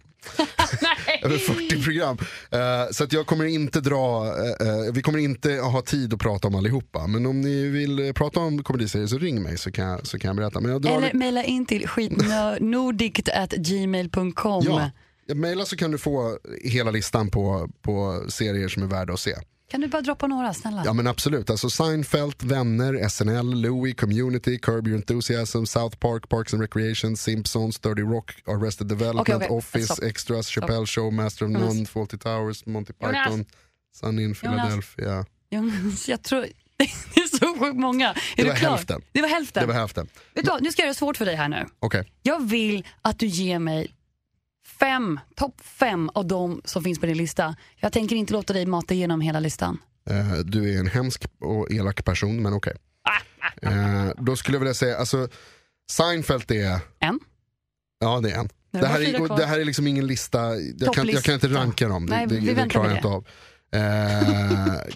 [SPEAKER 2] över 40 program. Eh, så att jag kommer inte dra, eh, eh, vi kommer inte ha tid att prata om allihopa. Men om ni vill eh, prata om komediserier så ring mig så kan jag, så kan jag berätta. Men jag drar
[SPEAKER 1] Eller mejla in till skitnordict.gmail.com.
[SPEAKER 2] Ja, mejla så kan du få hela listan på, på serier som är värda att se.
[SPEAKER 1] Kan du bara droppa några snälla?
[SPEAKER 2] Ja men absolut, alltså Seinfeld, Vänner, SNL, Louis, Community, Curb Your Enthusiasm, South Park, Parks and Recreation, Simpsons, Dirty Rock, Arrested Development,
[SPEAKER 1] Okej, okej.
[SPEAKER 2] Office,
[SPEAKER 1] Stopp.
[SPEAKER 2] Extras, Chappelle Show, Master of
[SPEAKER 1] Jonas.
[SPEAKER 2] None, Fawlty Towers, Monty
[SPEAKER 1] Jonas.
[SPEAKER 2] Python, Sunny in Philadelphia.
[SPEAKER 1] Jonas, Jag tror... Det är så sjukt många. Är det du
[SPEAKER 2] var
[SPEAKER 1] klar?
[SPEAKER 2] hälften.
[SPEAKER 1] Det var hälften.
[SPEAKER 2] Det var hälften.
[SPEAKER 1] Vet du vad, nu ska jag göra det svårt för dig här nu.
[SPEAKER 2] Okej,
[SPEAKER 1] Jag vill att du ger mig fem, topp fem av de som finns på din lista. Jag tänker inte låta dig mata igenom hela listan.
[SPEAKER 2] Eh, du är en hemsk och elak person men okej. Eh, då skulle jag vilja säga, alltså Seinfeld är,
[SPEAKER 1] En?
[SPEAKER 2] ja det är en.
[SPEAKER 1] Nu
[SPEAKER 2] Det
[SPEAKER 1] bara
[SPEAKER 2] här,
[SPEAKER 1] fyra
[SPEAKER 2] är, och
[SPEAKER 1] kvar.
[SPEAKER 2] det här är liksom ingen lista, jag kan, jag kan inte
[SPEAKER 1] Topplista.
[SPEAKER 2] ranka dem. Det,
[SPEAKER 1] Nej,
[SPEAKER 2] det,
[SPEAKER 1] vi
[SPEAKER 2] det,
[SPEAKER 1] väntar
[SPEAKER 2] klarar
[SPEAKER 1] med
[SPEAKER 2] jag inte av. Eh,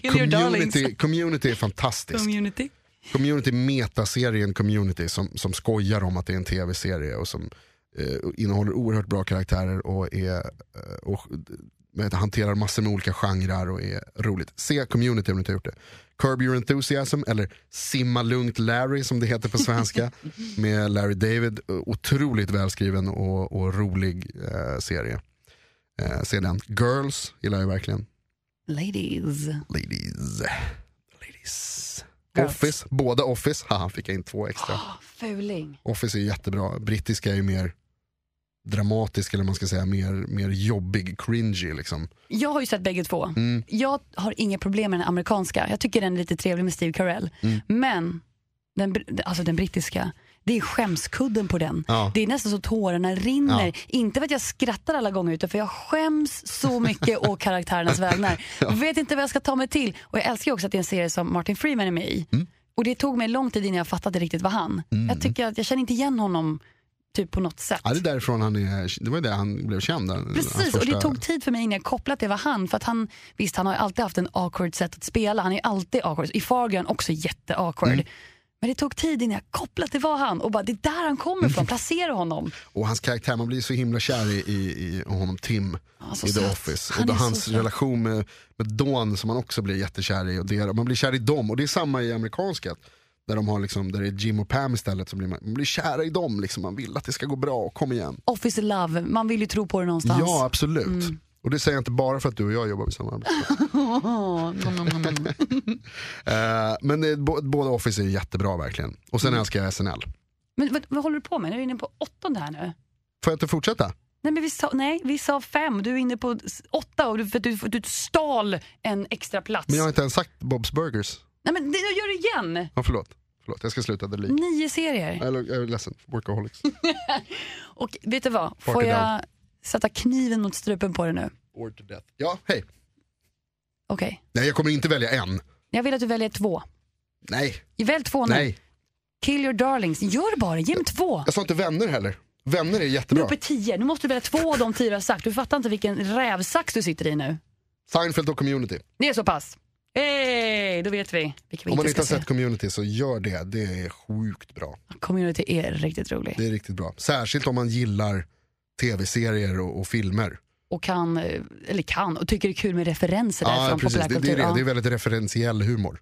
[SPEAKER 1] Kill your darlings.
[SPEAKER 2] community, community är fantastiskt.
[SPEAKER 1] Community.
[SPEAKER 2] Community metaserien Community som, som skojar om att det är en tv-serie och som eh, innehåller oerhört bra karaktärer och, är, eh, och vad heter, hanterar massor med olika genrer och är roligt. Se Community om du inte har gjort det. Curb Your Enthusiasm eller Simma Lugnt Larry som det heter på svenska med Larry David. eh, Otroligt välskriven och, och rolig eh, serie. Eh, se den. Girls gillar jag verkligen.
[SPEAKER 1] Ladies.
[SPEAKER 2] Ladies. Ladies.
[SPEAKER 1] Girls.
[SPEAKER 2] Office, båda Office. Haha, fick jag in två extra.
[SPEAKER 1] Ah, fuling.
[SPEAKER 2] Office är jättebra. Brittiska är ju mer dramatisk eller man ska säga mer, mer jobbig, cringy liksom.
[SPEAKER 1] Jag har ju sett bägge två.
[SPEAKER 2] Mm.
[SPEAKER 1] Jag har inga problem med den amerikanska. Jag tycker den är lite trevlig med Steve Carell. Men den, br- alltså den brittiska, det är skämskudden på den.
[SPEAKER 2] Ja.
[SPEAKER 1] Det är nästan så tårarna rinner.
[SPEAKER 2] Ja.
[SPEAKER 1] Inte för att jag skrattar alla gånger utan för jag skäms så mycket å karaktärernas vägnar. Vet inte vad jag ska ta mig till. Och jag älskar ju också att det är en serie som Martin Freeman är med i.
[SPEAKER 2] Mm.
[SPEAKER 1] Och det tog mig lång tid innan jag fattade riktigt vad han. Jag tycker att jag känner inte igen honom typ på något sätt.
[SPEAKER 2] Ja, det är därifrån han är, det var ju där han blev känd. han- hans
[SPEAKER 1] Precis, och
[SPEAKER 2] första-
[SPEAKER 1] det tog tid för mig innan jag kopplade att det var han. För att han, visst, han har ju alltid haft en awkward sätt att spela. Han är ju alltid awkward. I Fargo är han också jätte-awkward.
[SPEAKER 2] Mm.
[SPEAKER 1] Men det tog tid innan jag kopplade att det var han. Och bara, det är där han
[SPEAKER 2] Mm.
[SPEAKER 1] kommer ifrån. Placera honom.
[SPEAKER 2] Och hans karaktär, man blir så himla kär i, i, i honom Tim
[SPEAKER 1] så
[SPEAKER 2] i The
[SPEAKER 1] söt.
[SPEAKER 2] Office.
[SPEAKER 1] Han
[SPEAKER 2] och då
[SPEAKER 1] är så
[SPEAKER 2] hans
[SPEAKER 1] söt.
[SPEAKER 2] relation med, med Dawn som man också blir jättekär i. Och det, man blir kär i dem och det är samma i amerikanska. Där, de har liksom, där det är Jim och Pam istället, så blir man, man blir kär i dem. Liksom. Man vill att det ska gå bra, och kom igen.
[SPEAKER 1] Office love, man vill ju tro på det någonstans.
[SPEAKER 2] Ja, absolut.
[SPEAKER 1] Mm.
[SPEAKER 2] Och det säger jag inte bara för att du och jag jobbar vid samma arbetsplats. Eh, men det, bo, båda Office är jättebra verkligen. Och
[SPEAKER 1] Mm.
[SPEAKER 2] sen älskar jag SNL.
[SPEAKER 1] Men vad, vad håller du på med? Nu är du inne på åttonde här nu.
[SPEAKER 2] Får jag inte fortsätta?
[SPEAKER 1] Nej, men vi sa, nej, vi sa fem. Du är inne på s- åtta och du, för att du, för att du stal en extra plats.
[SPEAKER 2] Men jag har inte ens sagt Bob's Burgers.
[SPEAKER 1] Nej, men det, jag gör det igen!
[SPEAKER 2] Ja, förlåt. förlåt, jag ska sluta. Det lik.
[SPEAKER 1] Nio serier.
[SPEAKER 2] Jag är jag är ledsen, workaholics.
[SPEAKER 1] Och vet du vad? Får
[SPEAKER 2] Parker
[SPEAKER 1] jag sätta kniven mot strupen på dig nu?
[SPEAKER 2] Bored to death. Ja, hej.
[SPEAKER 1] Okej.
[SPEAKER 2] Nej, jag kommer inte välja en.
[SPEAKER 1] Jag vill att du väljer två.
[SPEAKER 2] Nej,
[SPEAKER 1] Välj två nu.
[SPEAKER 2] nej.
[SPEAKER 1] Kill your darlings. Gör det bara, ge mig två.
[SPEAKER 2] Jag sa inte vänner heller. Vänner är
[SPEAKER 1] Nu är du
[SPEAKER 2] jättebra.
[SPEAKER 1] uppe i tio. Nu måste du välja två av de tio du har sagt. Du fattar inte vilken rävsax du sitter i nu.
[SPEAKER 2] Seinfeld och community.
[SPEAKER 1] Det är så pass. Hey, då vet vi vilka vi
[SPEAKER 2] Om man
[SPEAKER 1] inte
[SPEAKER 2] inte
[SPEAKER 1] ska
[SPEAKER 2] har
[SPEAKER 1] se.
[SPEAKER 2] sett community så gör det. Det är sjukt bra.
[SPEAKER 1] Community är riktigt rolig.
[SPEAKER 2] Det är riktigt bra. Särskilt om man gillar tv-serier och, och filmer.
[SPEAKER 1] Och kan, eh, eller kan, och tycker det är kul med referenser där
[SPEAKER 2] Ja,
[SPEAKER 1] från
[SPEAKER 2] precis. Det, det, är
[SPEAKER 1] populärkultur.
[SPEAKER 2] det. det är
[SPEAKER 1] Ja.
[SPEAKER 2] väldigt referentiell humor.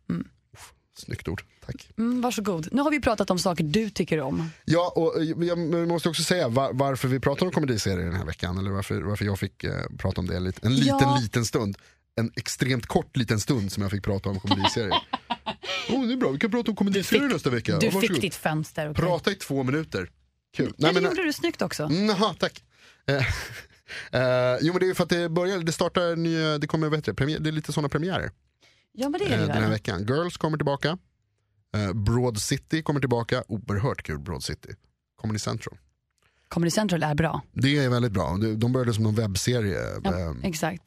[SPEAKER 2] Uff, Snyggt ord, tack.
[SPEAKER 1] Mm, varsågod. Nu har vi pratat om saker du tycker om.
[SPEAKER 2] Ja, och eh, jag men vi måste också säga var, varför vi pratar om komediserier den här veckan. Eller varför, varför jag fick eh, prata om det en liten, en liten,
[SPEAKER 1] Ja.
[SPEAKER 2] liten stund. En extremt kort liten stund som jag fick prata om komediserier. oh, det är bra, vi kan prata om komediserier nästa vecka.
[SPEAKER 1] Du
[SPEAKER 2] Ja,
[SPEAKER 1] fick
[SPEAKER 2] varsågod.
[SPEAKER 1] ditt fönster. okej?
[SPEAKER 2] Prata i två minuter. Kul.
[SPEAKER 1] Ja, det
[SPEAKER 2] men,
[SPEAKER 1] gjorde du snyggt också.
[SPEAKER 2] Mm, Jaha, tack. Eh, eh, jo men det är för att det börjar, det startar nya, det kommer bättre, premiär, det är lite sådana premiärer
[SPEAKER 1] Ja, men det
[SPEAKER 2] eh,
[SPEAKER 1] är det
[SPEAKER 2] den här
[SPEAKER 1] väl.
[SPEAKER 2] veckan. Girls kommer tillbaka, eh, Broad City kommer tillbaka, oerhört kul Broad City. Comedy Central.
[SPEAKER 1] Comedy Central är bra.
[SPEAKER 2] Det är väldigt bra, De- de började som en webbserie.
[SPEAKER 1] Ja,
[SPEAKER 2] Eh,
[SPEAKER 1] Exakt.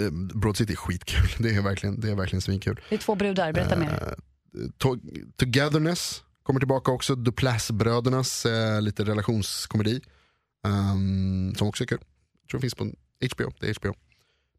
[SPEAKER 2] eh, Broad City är skitkul, det är verkligen, det är verkligen svinkul.
[SPEAKER 1] Det är två brudar, berätta mer.
[SPEAKER 2] Eh, to- Togetherness kommer tillbaka också, Duplass-brödernas eh, lite relationskomedi. ehm, som också är kul. Tror det finns på HBO, det är HBO.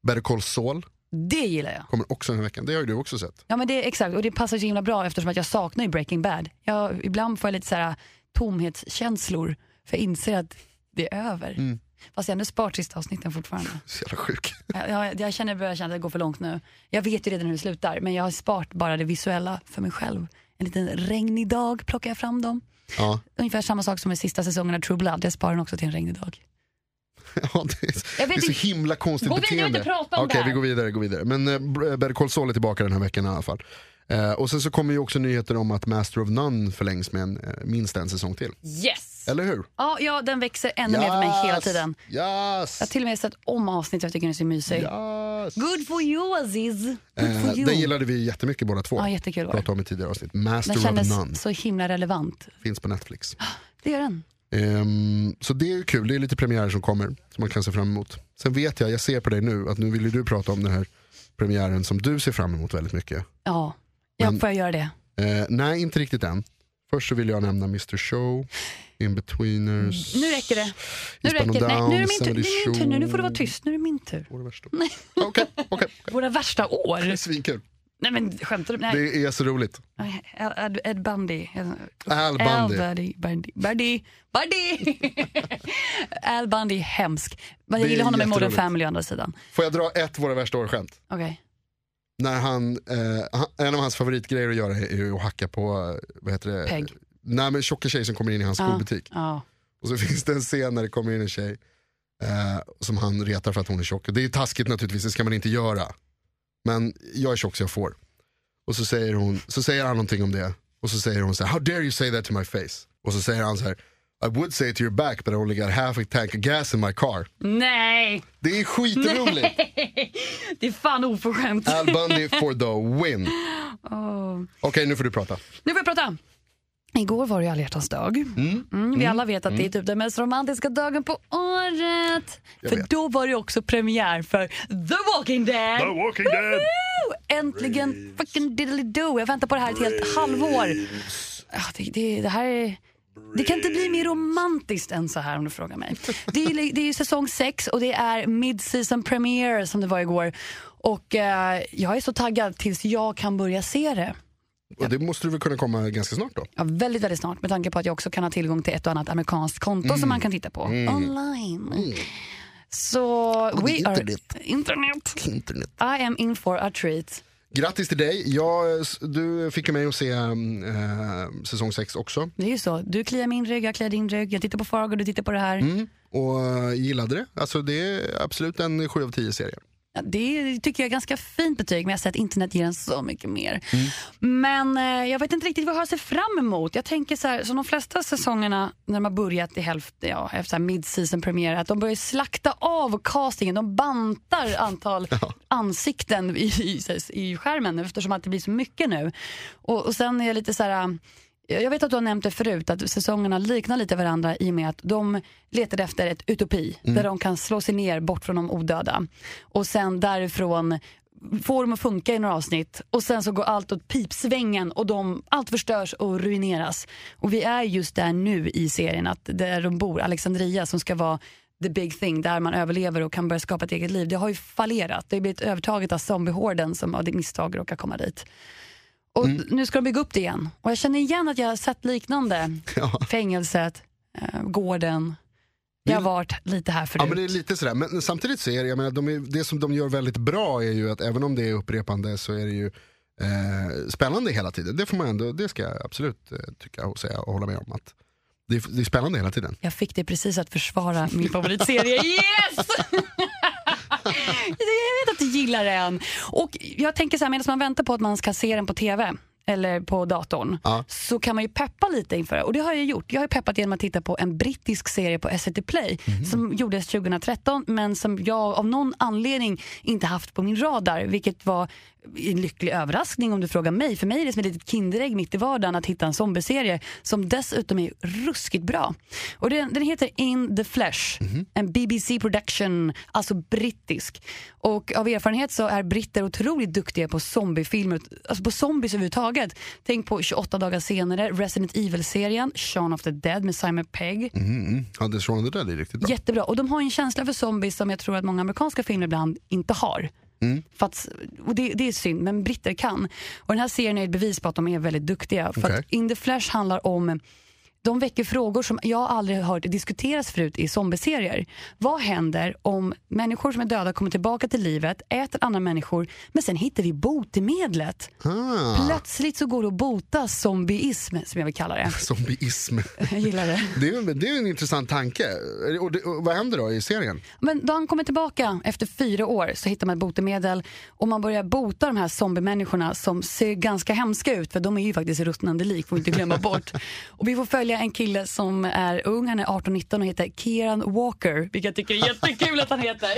[SPEAKER 2] Better Call Saul
[SPEAKER 1] Det gillar jag.
[SPEAKER 2] kommer också den här veckan, det har ju du också sett.
[SPEAKER 1] Ja men det exakt och det passar så himla bra eftersom att jag saknar ju Breaking Bad. Jag, ibland får jag lite så här äh, tomhetskänslor för jag inser att det är över.
[SPEAKER 2] Mm.
[SPEAKER 1] Fast jag har ändå sparat sista avsnitten fortfarande.
[SPEAKER 2] Så jävla sjuk.
[SPEAKER 1] Jag, jag, jag känner börjar känna att det går för långt nu. Jag vet ju redan hur det slutar men jag har sparat bara det visuella för mig själv. En liten regnig dag plockar jag fram dem.
[SPEAKER 2] Ja.
[SPEAKER 1] Ungefär samma sak som i sista säsongen av True Blood. Jag sparar den också till en regnig dag.
[SPEAKER 2] Ja, det är,
[SPEAKER 1] Jag
[SPEAKER 2] det
[SPEAKER 1] vet
[SPEAKER 2] är så
[SPEAKER 1] inte-
[SPEAKER 2] himla konstigt
[SPEAKER 1] Gå vidare,
[SPEAKER 2] beteende.
[SPEAKER 1] jag vill inte prata om det
[SPEAKER 2] Okej,
[SPEAKER 1] här.
[SPEAKER 2] vi går vidare. Går vidare. Men eh, Br- eh, Better Call Saul är tillbaka den här veckan i alla fall. Eh, och sen så kommer ju också nyheter om att Master of None förlängs med en, eh, minst en säsong till.
[SPEAKER 1] Yes!
[SPEAKER 2] Eller hur?
[SPEAKER 1] Ja, ja den växer ännu mer för mig hela tiden.
[SPEAKER 2] Yes!
[SPEAKER 1] Jag har till och med sett om avsnittet jag tycker den är så mysig.
[SPEAKER 2] yes.
[SPEAKER 1] Good for you Aziz! Good for
[SPEAKER 2] Eh,
[SPEAKER 1] you.
[SPEAKER 2] den gillade vi jättemycket båda två.
[SPEAKER 1] Ja, jättekul var det.
[SPEAKER 2] Pratade om i tidigare avsnitt.
[SPEAKER 1] Den
[SPEAKER 2] Master of None
[SPEAKER 1] kändes så himla relevant.
[SPEAKER 2] finns på Netflix.
[SPEAKER 1] Det gör den.
[SPEAKER 2] Ehm, så det är ju kul, det är lite premiärer som kommer som man kan se fram emot. Sen vet jag, jag ser på dig nu att nu vill ju du prata om den här premiären som du ser fram emot väldigt mycket.
[SPEAKER 1] Ja, ja
[SPEAKER 2] Men-
[SPEAKER 1] får jag göra det?
[SPEAKER 2] Eh, nej, inte riktigt än. Först så vill jag nämna Mr Show, Inbetweeners.
[SPEAKER 1] Mm, Nu räcker det. Nu
[SPEAKER 2] Eastbound
[SPEAKER 1] räcker det. Nej,
[SPEAKER 2] and
[SPEAKER 1] nu är det min tur.
[SPEAKER 2] Down,
[SPEAKER 1] Det är min tur nu. Nu får du vara
[SPEAKER 2] Sandy
[SPEAKER 1] tyst. Nu är det min tur.
[SPEAKER 2] Show. Okej, okej. okej.
[SPEAKER 1] Våra värsta år.
[SPEAKER 2] Det är svinkul.
[SPEAKER 1] Nej men skämtar du? Nej.
[SPEAKER 2] Det är så roligt.
[SPEAKER 1] Ed, Ed Bundy.
[SPEAKER 2] Al Bundy.
[SPEAKER 1] Al Bundy. Bundy. Bundy. Bundy. Al Bundy är hemsk. Men jag
[SPEAKER 2] Det är
[SPEAKER 1] gillar honom i Modern
[SPEAKER 2] jätteroligt.
[SPEAKER 1] Family å andra sidan.
[SPEAKER 2] Får jag dra ett våra värsta år-skämt?
[SPEAKER 1] Okej.
[SPEAKER 2] när han, eh, han, en av hans favoritgrejer att göra är ju att hacka på, eh, vad heter det?
[SPEAKER 1] Peg.
[SPEAKER 2] Nej men tjocka tjejer som kommer in i hans
[SPEAKER 1] Ja.
[SPEAKER 2] skobutik.
[SPEAKER 1] Ja.
[SPEAKER 2] Och så finns det en scen när det kommer in en tjej eh, som han retar för att hon är tjock. Och Det är ju taskigt naturligtvis, det ska man inte göra. Men jag är tjock så jag får. Och så säger, hon, så säger han någonting om det. Och så säger hon så här, how dare you say that to my face? Och så säger han så här, I would say it to your back but I only got half a tank of gas in my car.
[SPEAKER 1] Nej!
[SPEAKER 2] Det är skitroligt!
[SPEAKER 1] Det är fan oförskämt.
[SPEAKER 2] Al Bundy for the win. Okej nu får du prata.
[SPEAKER 1] Nu får jag prata. Igår var det ju alla hjärtans dag. Mm, vi alla vet att det är typ den mest romantiska dagen på året.
[SPEAKER 2] Jag
[SPEAKER 1] för
[SPEAKER 2] vet.
[SPEAKER 1] då var det också premiär för The Walking Dead.
[SPEAKER 2] The Walking Dead!
[SPEAKER 1] Woo! Äntligen fucking diddly-do. Jag väntar på det här ett helt halvår. Ah, Det, det, det, här är, det kan inte bli mer romantiskt än så här om du frågar mig. Det är, li- det är ju säsong 6 och det är mid-season premiere som det var igår. Och eh, jag är så taggad tills jag kan börja se det.
[SPEAKER 2] Och det måste du väl kunna komma ganska snart då?
[SPEAKER 1] Ja, väldigt, väldigt snart med tanke på att jag också kan ha tillgång till ett och annat amerikanskt konto som man kan titta på online. Så we
[SPEAKER 2] internet.
[SPEAKER 1] are... Internet.
[SPEAKER 2] Internet.
[SPEAKER 1] I am in for a treat.
[SPEAKER 2] Grattis till dig. Jag, du fick ju mig att se mm, eh, säsong 6 också.
[SPEAKER 1] Det är ju så. Du kliar min rygg, jag kliar din rygg. Jag tittar på Fargo, du tittar på det här.
[SPEAKER 2] Och eh, gillade det. Alltså det är absolut en 7 av 10 serie.
[SPEAKER 1] Ja, det tycker jag är ganska fint betyg, men jag säger att internet ger en så mycket mer. Men eh, jag vet inte riktigt vad jag har sett fram emot. Jag tänker så här, som de flesta säsongerna när de har börjat i hälften, ja, efter så här mid-season premiär, att de börjar slakta av castingen. De bantar antal ansikten i, i, i skärmen eftersom att det blir så mycket nu. Och, och sen är jag lite så här... Jag jag vet att du har nämnt det förut, att säsongerna liknar lite varandra i och med att de letar efter ett utopi där de kan slå sig ner bort från de odöda. Och sen därifrån får de att funka i några avsnitt och sen så går allt åt pipsvängen och de, allt förstörs och ruineras. Och vi är just där nu i serien, att där de bor, Alexandria som ska vara the big thing, där man överlever och kan börja skapa ett eget liv. Det har ju fallerat, det har blivit övertaget av zombiehorden som av det misstag råkar komma dit. Och
[SPEAKER 2] Mm.
[SPEAKER 1] nu ska de bygga upp det igen. Och jag känner igen att jag har sett liknande.
[SPEAKER 2] Ja.
[SPEAKER 1] Fängelset, eh, gården. Jag har varit lite här
[SPEAKER 2] Ja
[SPEAKER 1] förut.
[SPEAKER 2] men det är lite sådär, men samtidigt så är det, jag menar, de är, det som de gör väldigt bra är ju att även om det är upprepande så är det ju eh, spännande hela tiden. Det får man ändå, det ska jag absolut eh, tycka och säga och hålla med om att det är, det är spännande hela tiden.
[SPEAKER 1] Jag fick dig precis att försvara min favoritserie. Yes! jag vet att du gillar den. Och jag tänker så här, medan man väntar på att man ska se den på tv eller på datorn
[SPEAKER 2] Ja.
[SPEAKER 1] så kan man ju peppa lite inför det. Och det har jag gjort. Jag har ju peppat genom att titta på en brittisk serie på SVT Play som gjordes 2013 men som jag av någon anledning inte haft på min radar vilket var en lycklig överraskning om du frågar mig. För mig är det som ett litet kinderägg mitt i vardagen att hitta en zombieserie som dessutom är ruskigt bra. Och den, den heter In the Flesh, en BBC production, alltså brittisk. Och av erfarenhet så är britter otroligt duktiga på zombiefilmer, alltså på zombies överhuvudtaget. Tänk på 28 dagar senare, Resident Evil-serien, Shaun of the Dead med Simon Pegg.
[SPEAKER 2] Mm. Ja, det Shaun of the Dead är riktigt bra.
[SPEAKER 1] Jättebra. Och de har en känsla för zombies som jag tror att många amerikanska filmer ibland inte har.
[SPEAKER 2] Mm.
[SPEAKER 1] För att, och det, det är synd, men britter kan. Och den här serien är ett bevis på att de är väldigt duktiga. För
[SPEAKER 2] Okej.
[SPEAKER 1] att In the Flash handlar om de väcker frågor som jag aldrig har hört diskuteras förut i zombieserier. Vad händer om människor som är döda kommer tillbaka till livet, äter andra människor, men sen hittar vi botemedlet?
[SPEAKER 2] Ah,
[SPEAKER 1] Plötsligt så går det att bota zombieism, som jag vill kalla det.
[SPEAKER 2] zombieism.
[SPEAKER 1] Jag gillar det.
[SPEAKER 2] Det är, det är en intressant tanke. Och det, och vad händer då i serien?
[SPEAKER 1] Men då han kommer tillbaka efter fyra år så hittar man ett botemedel och man börjar bota de här zombiemänniskorna som ser ganska hemska ut för de är ju faktiskt ruttnande lik, får vi inte glömma bort. Och vi får följa en kille som är ung, han är 18-19 och heter Kieran Walker, vilket jag tycker är jättekul att han heter.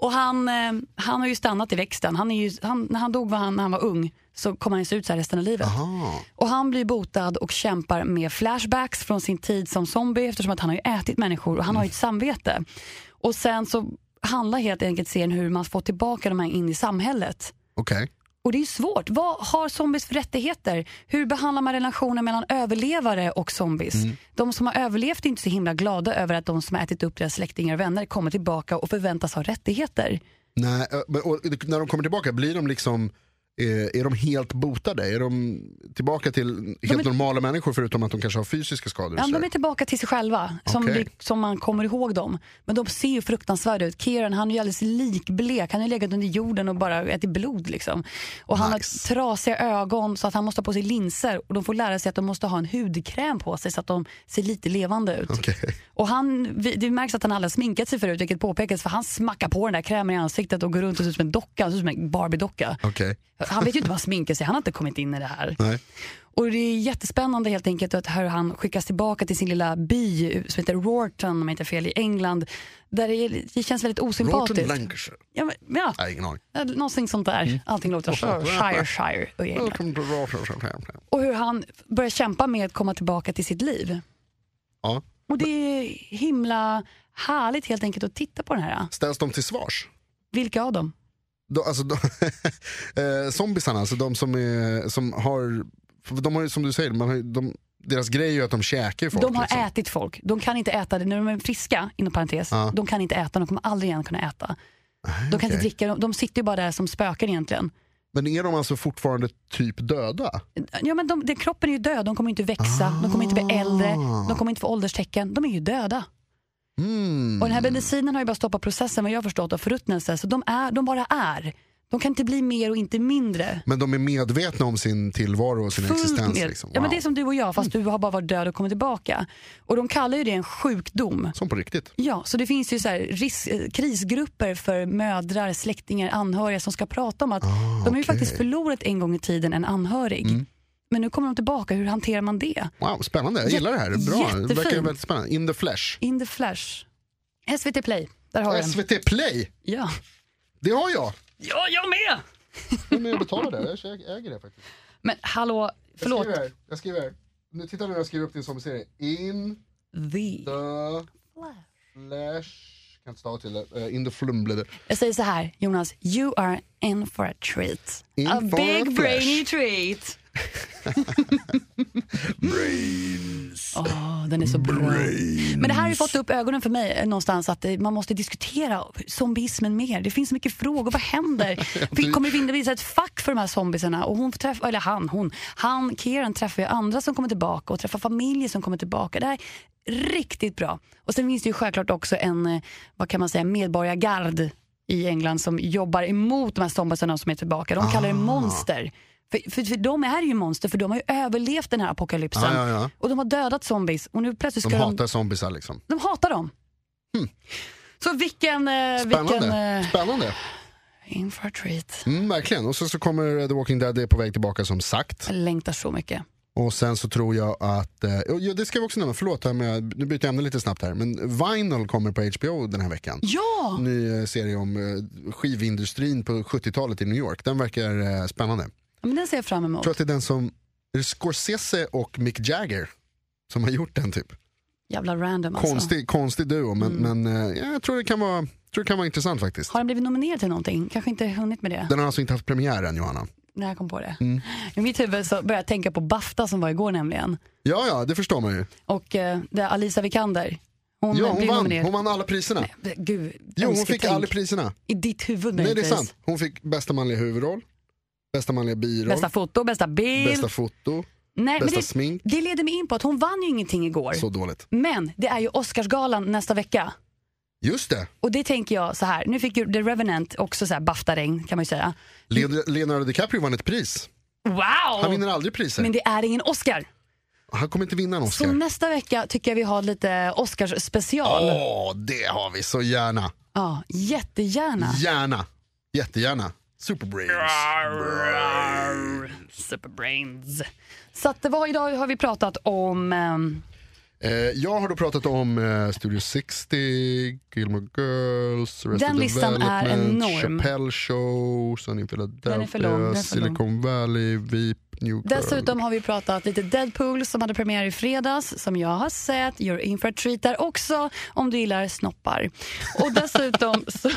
[SPEAKER 1] Och han, eh, han har ju stannat i växten, han är ju, han, när han dog var han, när han var ung så kom han ju se ut så här resten av livet.
[SPEAKER 2] Ah,
[SPEAKER 1] Och han blir botad och kämpar med flashbacks från sin tid som zombie eftersom att han har ju ätit människor och han har ju ett samvete. Och sen så handlar helt enkelt serien hur man får tillbaka de här in i samhället.
[SPEAKER 2] Okej.
[SPEAKER 1] Och det är ju svårt. Vad har zombies för rättigheter? Hur behandlar man relationen mellan överlevare och zombies? De som har överlevt är inte så himla glada över att de som har ätit upp deras släktingar och vänner kommer tillbaka och förväntas ha rättigheter.
[SPEAKER 2] Nej, eh, men- och När de kommer tillbaka, blir de liksom eh, är de helt botade? Är de tillbaka till helt
[SPEAKER 1] är-
[SPEAKER 2] normala människor förutom att de kanske har fysiska skador? och
[SPEAKER 1] Ja,
[SPEAKER 2] sådär?
[SPEAKER 1] de är tillbaka till sig själva, som,
[SPEAKER 2] Okej.
[SPEAKER 1] vi, som man kommer ihåg dem. Men de ser ju fruktansvärda ut. Kieran han är ju alldeles likblek, han har ju legat under jorden och bara ätit blod. Liksom. Och Han har
[SPEAKER 2] Nice.
[SPEAKER 1] trasiga ögon så att han måste ha på sig linser. Och De får lära sig att de måste ha en hudkräm på sig så att de ser lite levande ut.
[SPEAKER 2] Okej.
[SPEAKER 1] Och han, vi- det märks att han aldrig har sminkat sig förut, vilket påpekas för han smackar på den där krämen i ansiktet och går runt och ser ut som en docka, han ser ut som en Barbie-docka.
[SPEAKER 2] Okej.
[SPEAKER 1] han vet ju inte vad han sminkar sig, han har inte kommit in i det här.
[SPEAKER 2] Nej.
[SPEAKER 1] Och det är jättespännande helt enkelt att hur han skickas tillbaka till sin lilla by som heter Rorton, om jag inte är fel, i England. Där det, är, det känns väldigt
[SPEAKER 2] Rotten
[SPEAKER 1] osympatiskt.
[SPEAKER 2] Lancashire.
[SPEAKER 1] Ja, men, ja,
[SPEAKER 2] Nej, ingen aning.
[SPEAKER 1] någonting sånt där.
[SPEAKER 2] Mm.
[SPEAKER 1] Allting låter så. Shire, Shire och i England.
[SPEAKER 2] Rotten Lancashire.
[SPEAKER 1] Och hur han börjar kämpa med att komma tillbaka till sitt liv.
[SPEAKER 2] Ja.
[SPEAKER 1] Och det är himla härligt helt enkelt att titta på den här.
[SPEAKER 2] Ställs de till svars?
[SPEAKER 1] Vilka av dem?
[SPEAKER 2] De, alltså, de, eh, zombisarna, alltså de som, är, som har, för de har ju som du säger, man har, ju- de, deras grej är ju att de käkar folk.
[SPEAKER 1] de har
[SPEAKER 2] liksom.
[SPEAKER 1] ätit folk. De kan inte äta det när de är friska, inom parentes.
[SPEAKER 2] Ja.
[SPEAKER 1] De kan inte äta, de kommer aldrig igen kunna äta.
[SPEAKER 2] Nej,
[SPEAKER 1] De kan inte
[SPEAKER 2] Ah, okej.
[SPEAKER 1] dricka, de, de sitter ju bara där som spöken egentligen.
[SPEAKER 2] Men är de alltså fortfarande typ döda?
[SPEAKER 1] Ja, men de, den kroppen är ju död, de kommer ju inte växa, de kommer inte bli
[SPEAKER 2] Ah.
[SPEAKER 1] äldre, de kommer inte få ålderstecken. De är ju döda.
[SPEAKER 2] Mm.
[SPEAKER 1] Och den här medicinen har ju bara stoppat processen vad jag har förstått av förruttnelse. Så de, är, de bara är. De kan inte bli mer och inte mindre.
[SPEAKER 2] Men de är medvetna om sin tillvaro och sin existens?
[SPEAKER 1] med-
[SPEAKER 2] Liksom.
[SPEAKER 1] ja, men
[SPEAKER 2] Wow. Mm.
[SPEAKER 1] det är som du och jag fast du har bara varit död och kommit tillbaka. Och de kallar ju det en sjukdom.
[SPEAKER 2] Som på riktigt.
[SPEAKER 1] Ja, så det finns ju så här risk, eh, krisgrupper för mödrar, släktingar, anhöriga som ska prata om att de har ju
[SPEAKER 2] Ah, okej. Mm.
[SPEAKER 1] faktiskt förlorat en gång i tiden en anhörig. Men nu kommer de tillbaka, hur hanterar man det?
[SPEAKER 2] Wow, spännande, jag gillar det här. Bra. Det verkar
[SPEAKER 1] jättefint.
[SPEAKER 2] väldigt spännande. In the flash.
[SPEAKER 1] In the flash. SVT Play, där har du den.
[SPEAKER 2] SVT Play,
[SPEAKER 1] Ja.
[SPEAKER 2] det har jag.
[SPEAKER 1] ja, jag med!
[SPEAKER 2] Jag är med och betalar det, jag kä- äger det faktiskt.
[SPEAKER 1] Men hallå,
[SPEAKER 2] Jag
[SPEAKER 1] förlåt.
[SPEAKER 2] skriver här, jag skriver här. Nu, titta nu när jag skriver upp din zombieserie. In
[SPEAKER 1] The.
[SPEAKER 2] the flash. Kan inte stava till det. Eh, in the flumblade.
[SPEAKER 1] Jag säger så här, Jonas, you are in for a treat.
[SPEAKER 2] In
[SPEAKER 1] a
[SPEAKER 2] for a
[SPEAKER 1] big
[SPEAKER 2] flash.
[SPEAKER 1] brainy treat. Åh, den är så bra. Men det här har ju fått upp ögonen för mig eh, någonstans att eh, man måste diskutera zombismen mer. Det finns så mycket frågor. Vad händer? Vi kommer det finnas ett fack för de här zombiserna? Och hon träffar, eller han, hon, han, Kieran träffar ju andra som kommer tillbaka och träffar familjer som kommer tillbaka. Det här är riktigt bra. Och sen finns det ju självklart också en, eh, vad kan man säga, medborgargard i England som jobbar emot de här zombiserna som är tillbaka. De kallar det
[SPEAKER 2] Ah.
[SPEAKER 1] monster. För, för, för de är ju monster för de har ju överlevt den här apokalypsen.
[SPEAKER 2] Ah, Ja, ja, ja.
[SPEAKER 1] Och de har dödat zombies och nu plötsligt
[SPEAKER 2] De
[SPEAKER 1] ska de
[SPEAKER 2] hatar zombisar liksom.
[SPEAKER 1] de hatar dem. Så vilken... eh, vilken
[SPEAKER 2] Spännande.
[SPEAKER 1] eh,
[SPEAKER 2] Spännande.
[SPEAKER 1] in for a treat.
[SPEAKER 2] Mm, verkligen. Och sen så kommer eh, The Walking Dead, det är på väg tillbaka som sagt.
[SPEAKER 1] Jag längtar så mycket.
[SPEAKER 2] Och sen så tror jag att, eh, jo, ja, det ska vi också nämna, förlåt, här med, nu byter jag ämne lite snabbt här. Men Vinyl kommer på HBO den här veckan.
[SPEAKER 1] Ja!
[SPEAKER 2] Ny eh, serie om eh, skivindustrin på 70-talet i New York. Den verkar eh, spännande.
[SPEAKER 1] Men den ser jag fram emot.
[SPEAKER 2] tror att det är den som, är det Scorsese och Mick Jagger som har gjort den typ.
[SPEAKER 1] Jävla random alltså. Mm.
[SPEAKER 2] Konstig, konstig duo men, men eh, ja, jag tror det, kan vara, tror det kan vara intressant faktiskt.
[SPEAKER 1] Har den blivit nominerad till någonting? Kanske inte hunnit med det
[SPEAKER 2] Den har alltså inte haft premiär än Johanna.
[SPEAKER 1] när jag kom på det.
[SPEAKER 2] Mm.
[SPEAKER 1] I mitt huvud så började jag tänka på Bafta som var igår nämligen.
[SPEAKER 2] Ja, ja, det förstår man ju.
[SPEAKER 1] Och eh, där Alisa Vikander. Hon
[SPEAKER 2] Ja, hon,
[SPEAKER 1] blev
[SPEAKER 2] vann.
[SPEAKER 1] nominerad.
[SPEAKER 2] hon vann alla priserna.
[SPEAKER 1] Gud,
[SPEAKER 2] Jo, hon fick
[SPEAKER 1] önsketänk.
[SPEAKER 2] alla priserna.
[SPEAKER 1] I ditt huvud
[SPEAKER 2] Nej, det är
[SPEAKER 1] möjligtvis.
[SPEAKER 2] sant. Hon fick bästa manliga huvudroll, bästa manliga biroll,
[SPEAKER 1] Bästa foto, bästa bild.
[SPEAKER 2] bästa foto,
[SPEAKER 1] Nej,
[SPEAKER 2] bästa
[SPEAKER 1] men det,
[SPEAKER 2] smink.
[SPEAKER 1] det leder mig in på att hon vann ju ingenting igår.
[SPEAKER 2] Så dåligt.
[SPEAKER 1] Men det är ju Oscarsgalan nästa vecka.
[SPEAKER 2] Just det,
[SPEAKER 1] Och det tänker jag så här, nu fick ju The Revenant också så här Bafta-regn kan man ju säga.
[SPEAKER 2] Leonardo- Leonardo DiCaprio vann ett pris. Han
[SPEAKER 1] Wow!
[SPEAKER 2] vinner aldrig priser.
[SPEAKER 1] Men det är ingen Oscar.
[SPEAKER 2] Han kommer inte vinna en
[SPEAKER 1] Så
[SPEAKER 2] Oscar.
[SPEAKER 1] nästa vecka tycker jag vi har lite Oscars-special.
[SPEAKER 2] Åh, det har vi så gärna.
[SPEAKER 1] Ja, jättegärna.
[SPEAKER 2] Gärna. Jättegärna. Superbrains.
[SPEAKER 1] Superbrains. Så att, vad idag har vi pratat om ehm,
[SPEAKER 2] Eh, jag har då pratat om eh, Studio 60, Gilmore Girls, Arrested
[SPEAKER 1] Den listan är
[SPEAKER 2] Development,
[SPEAKER 1] enorm.
[SPEAKER 2] Chappelle Show, Sunny in
[SPEAKER 1] Den är för lång, den är för
[SPEAKER 2] Philadelphia, Silicon Valley, Veep, New Girl.
[SPEAKER 1] Dessutom har vi pratat lite Deadpool som hade premiär i fredags som jag har sett. You're in for a treat där också om du gillar snoppar. Och dessutom så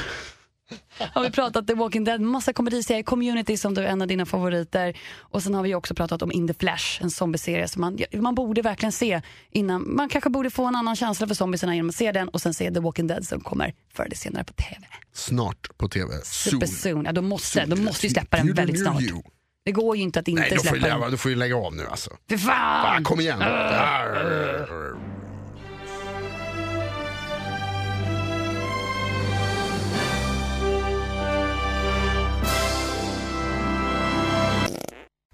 [SPEAKER 1] har vi pratat The Walking Dead, massa komediserier, Community som du är en av dina favoriter. Och sen har vi också pratat om In the Flash, en zombieserie som man, man borde verkligen se innan. Man kanske borde få en annan känsla för zombiesarna genom att se den och sen se The Walking Dead som kommer förr eller senare på TV.
[SPEAKER 2] Snart på tv.
[SPEAKER 1] Super
[SPEAKER 2] Soon.
[SPEAKER 1] soon. Ja, de måste, de
[SPEAKER 2] Soon.
[SPEAKER 1] måste ju släppa den
[SPEAKER 2] Beauty
[SPEAKER 1] väldigt
[SPEAKER 2] near
[SPEAKER 1] snart.
[SPEAKER 2] you.
[SPEAKER 1] Det Ah. går ju inte att
[SPEAKER 2] Nej,
[SPEAKER 1] inte
[SPEAKER 2] då får,
[SPEAKER 1] släppa
[SPEAKER 2] du lägga,
[SPEAKER 1] den.
[SPEAKER 2] då får du lägga av nu alltså.
[SPEAKER 1] Fy
[SPEAKER 2] Fan,
[SPEAKER 1] fan!
[SPEAKER 2] kom igen. Ah. Arr.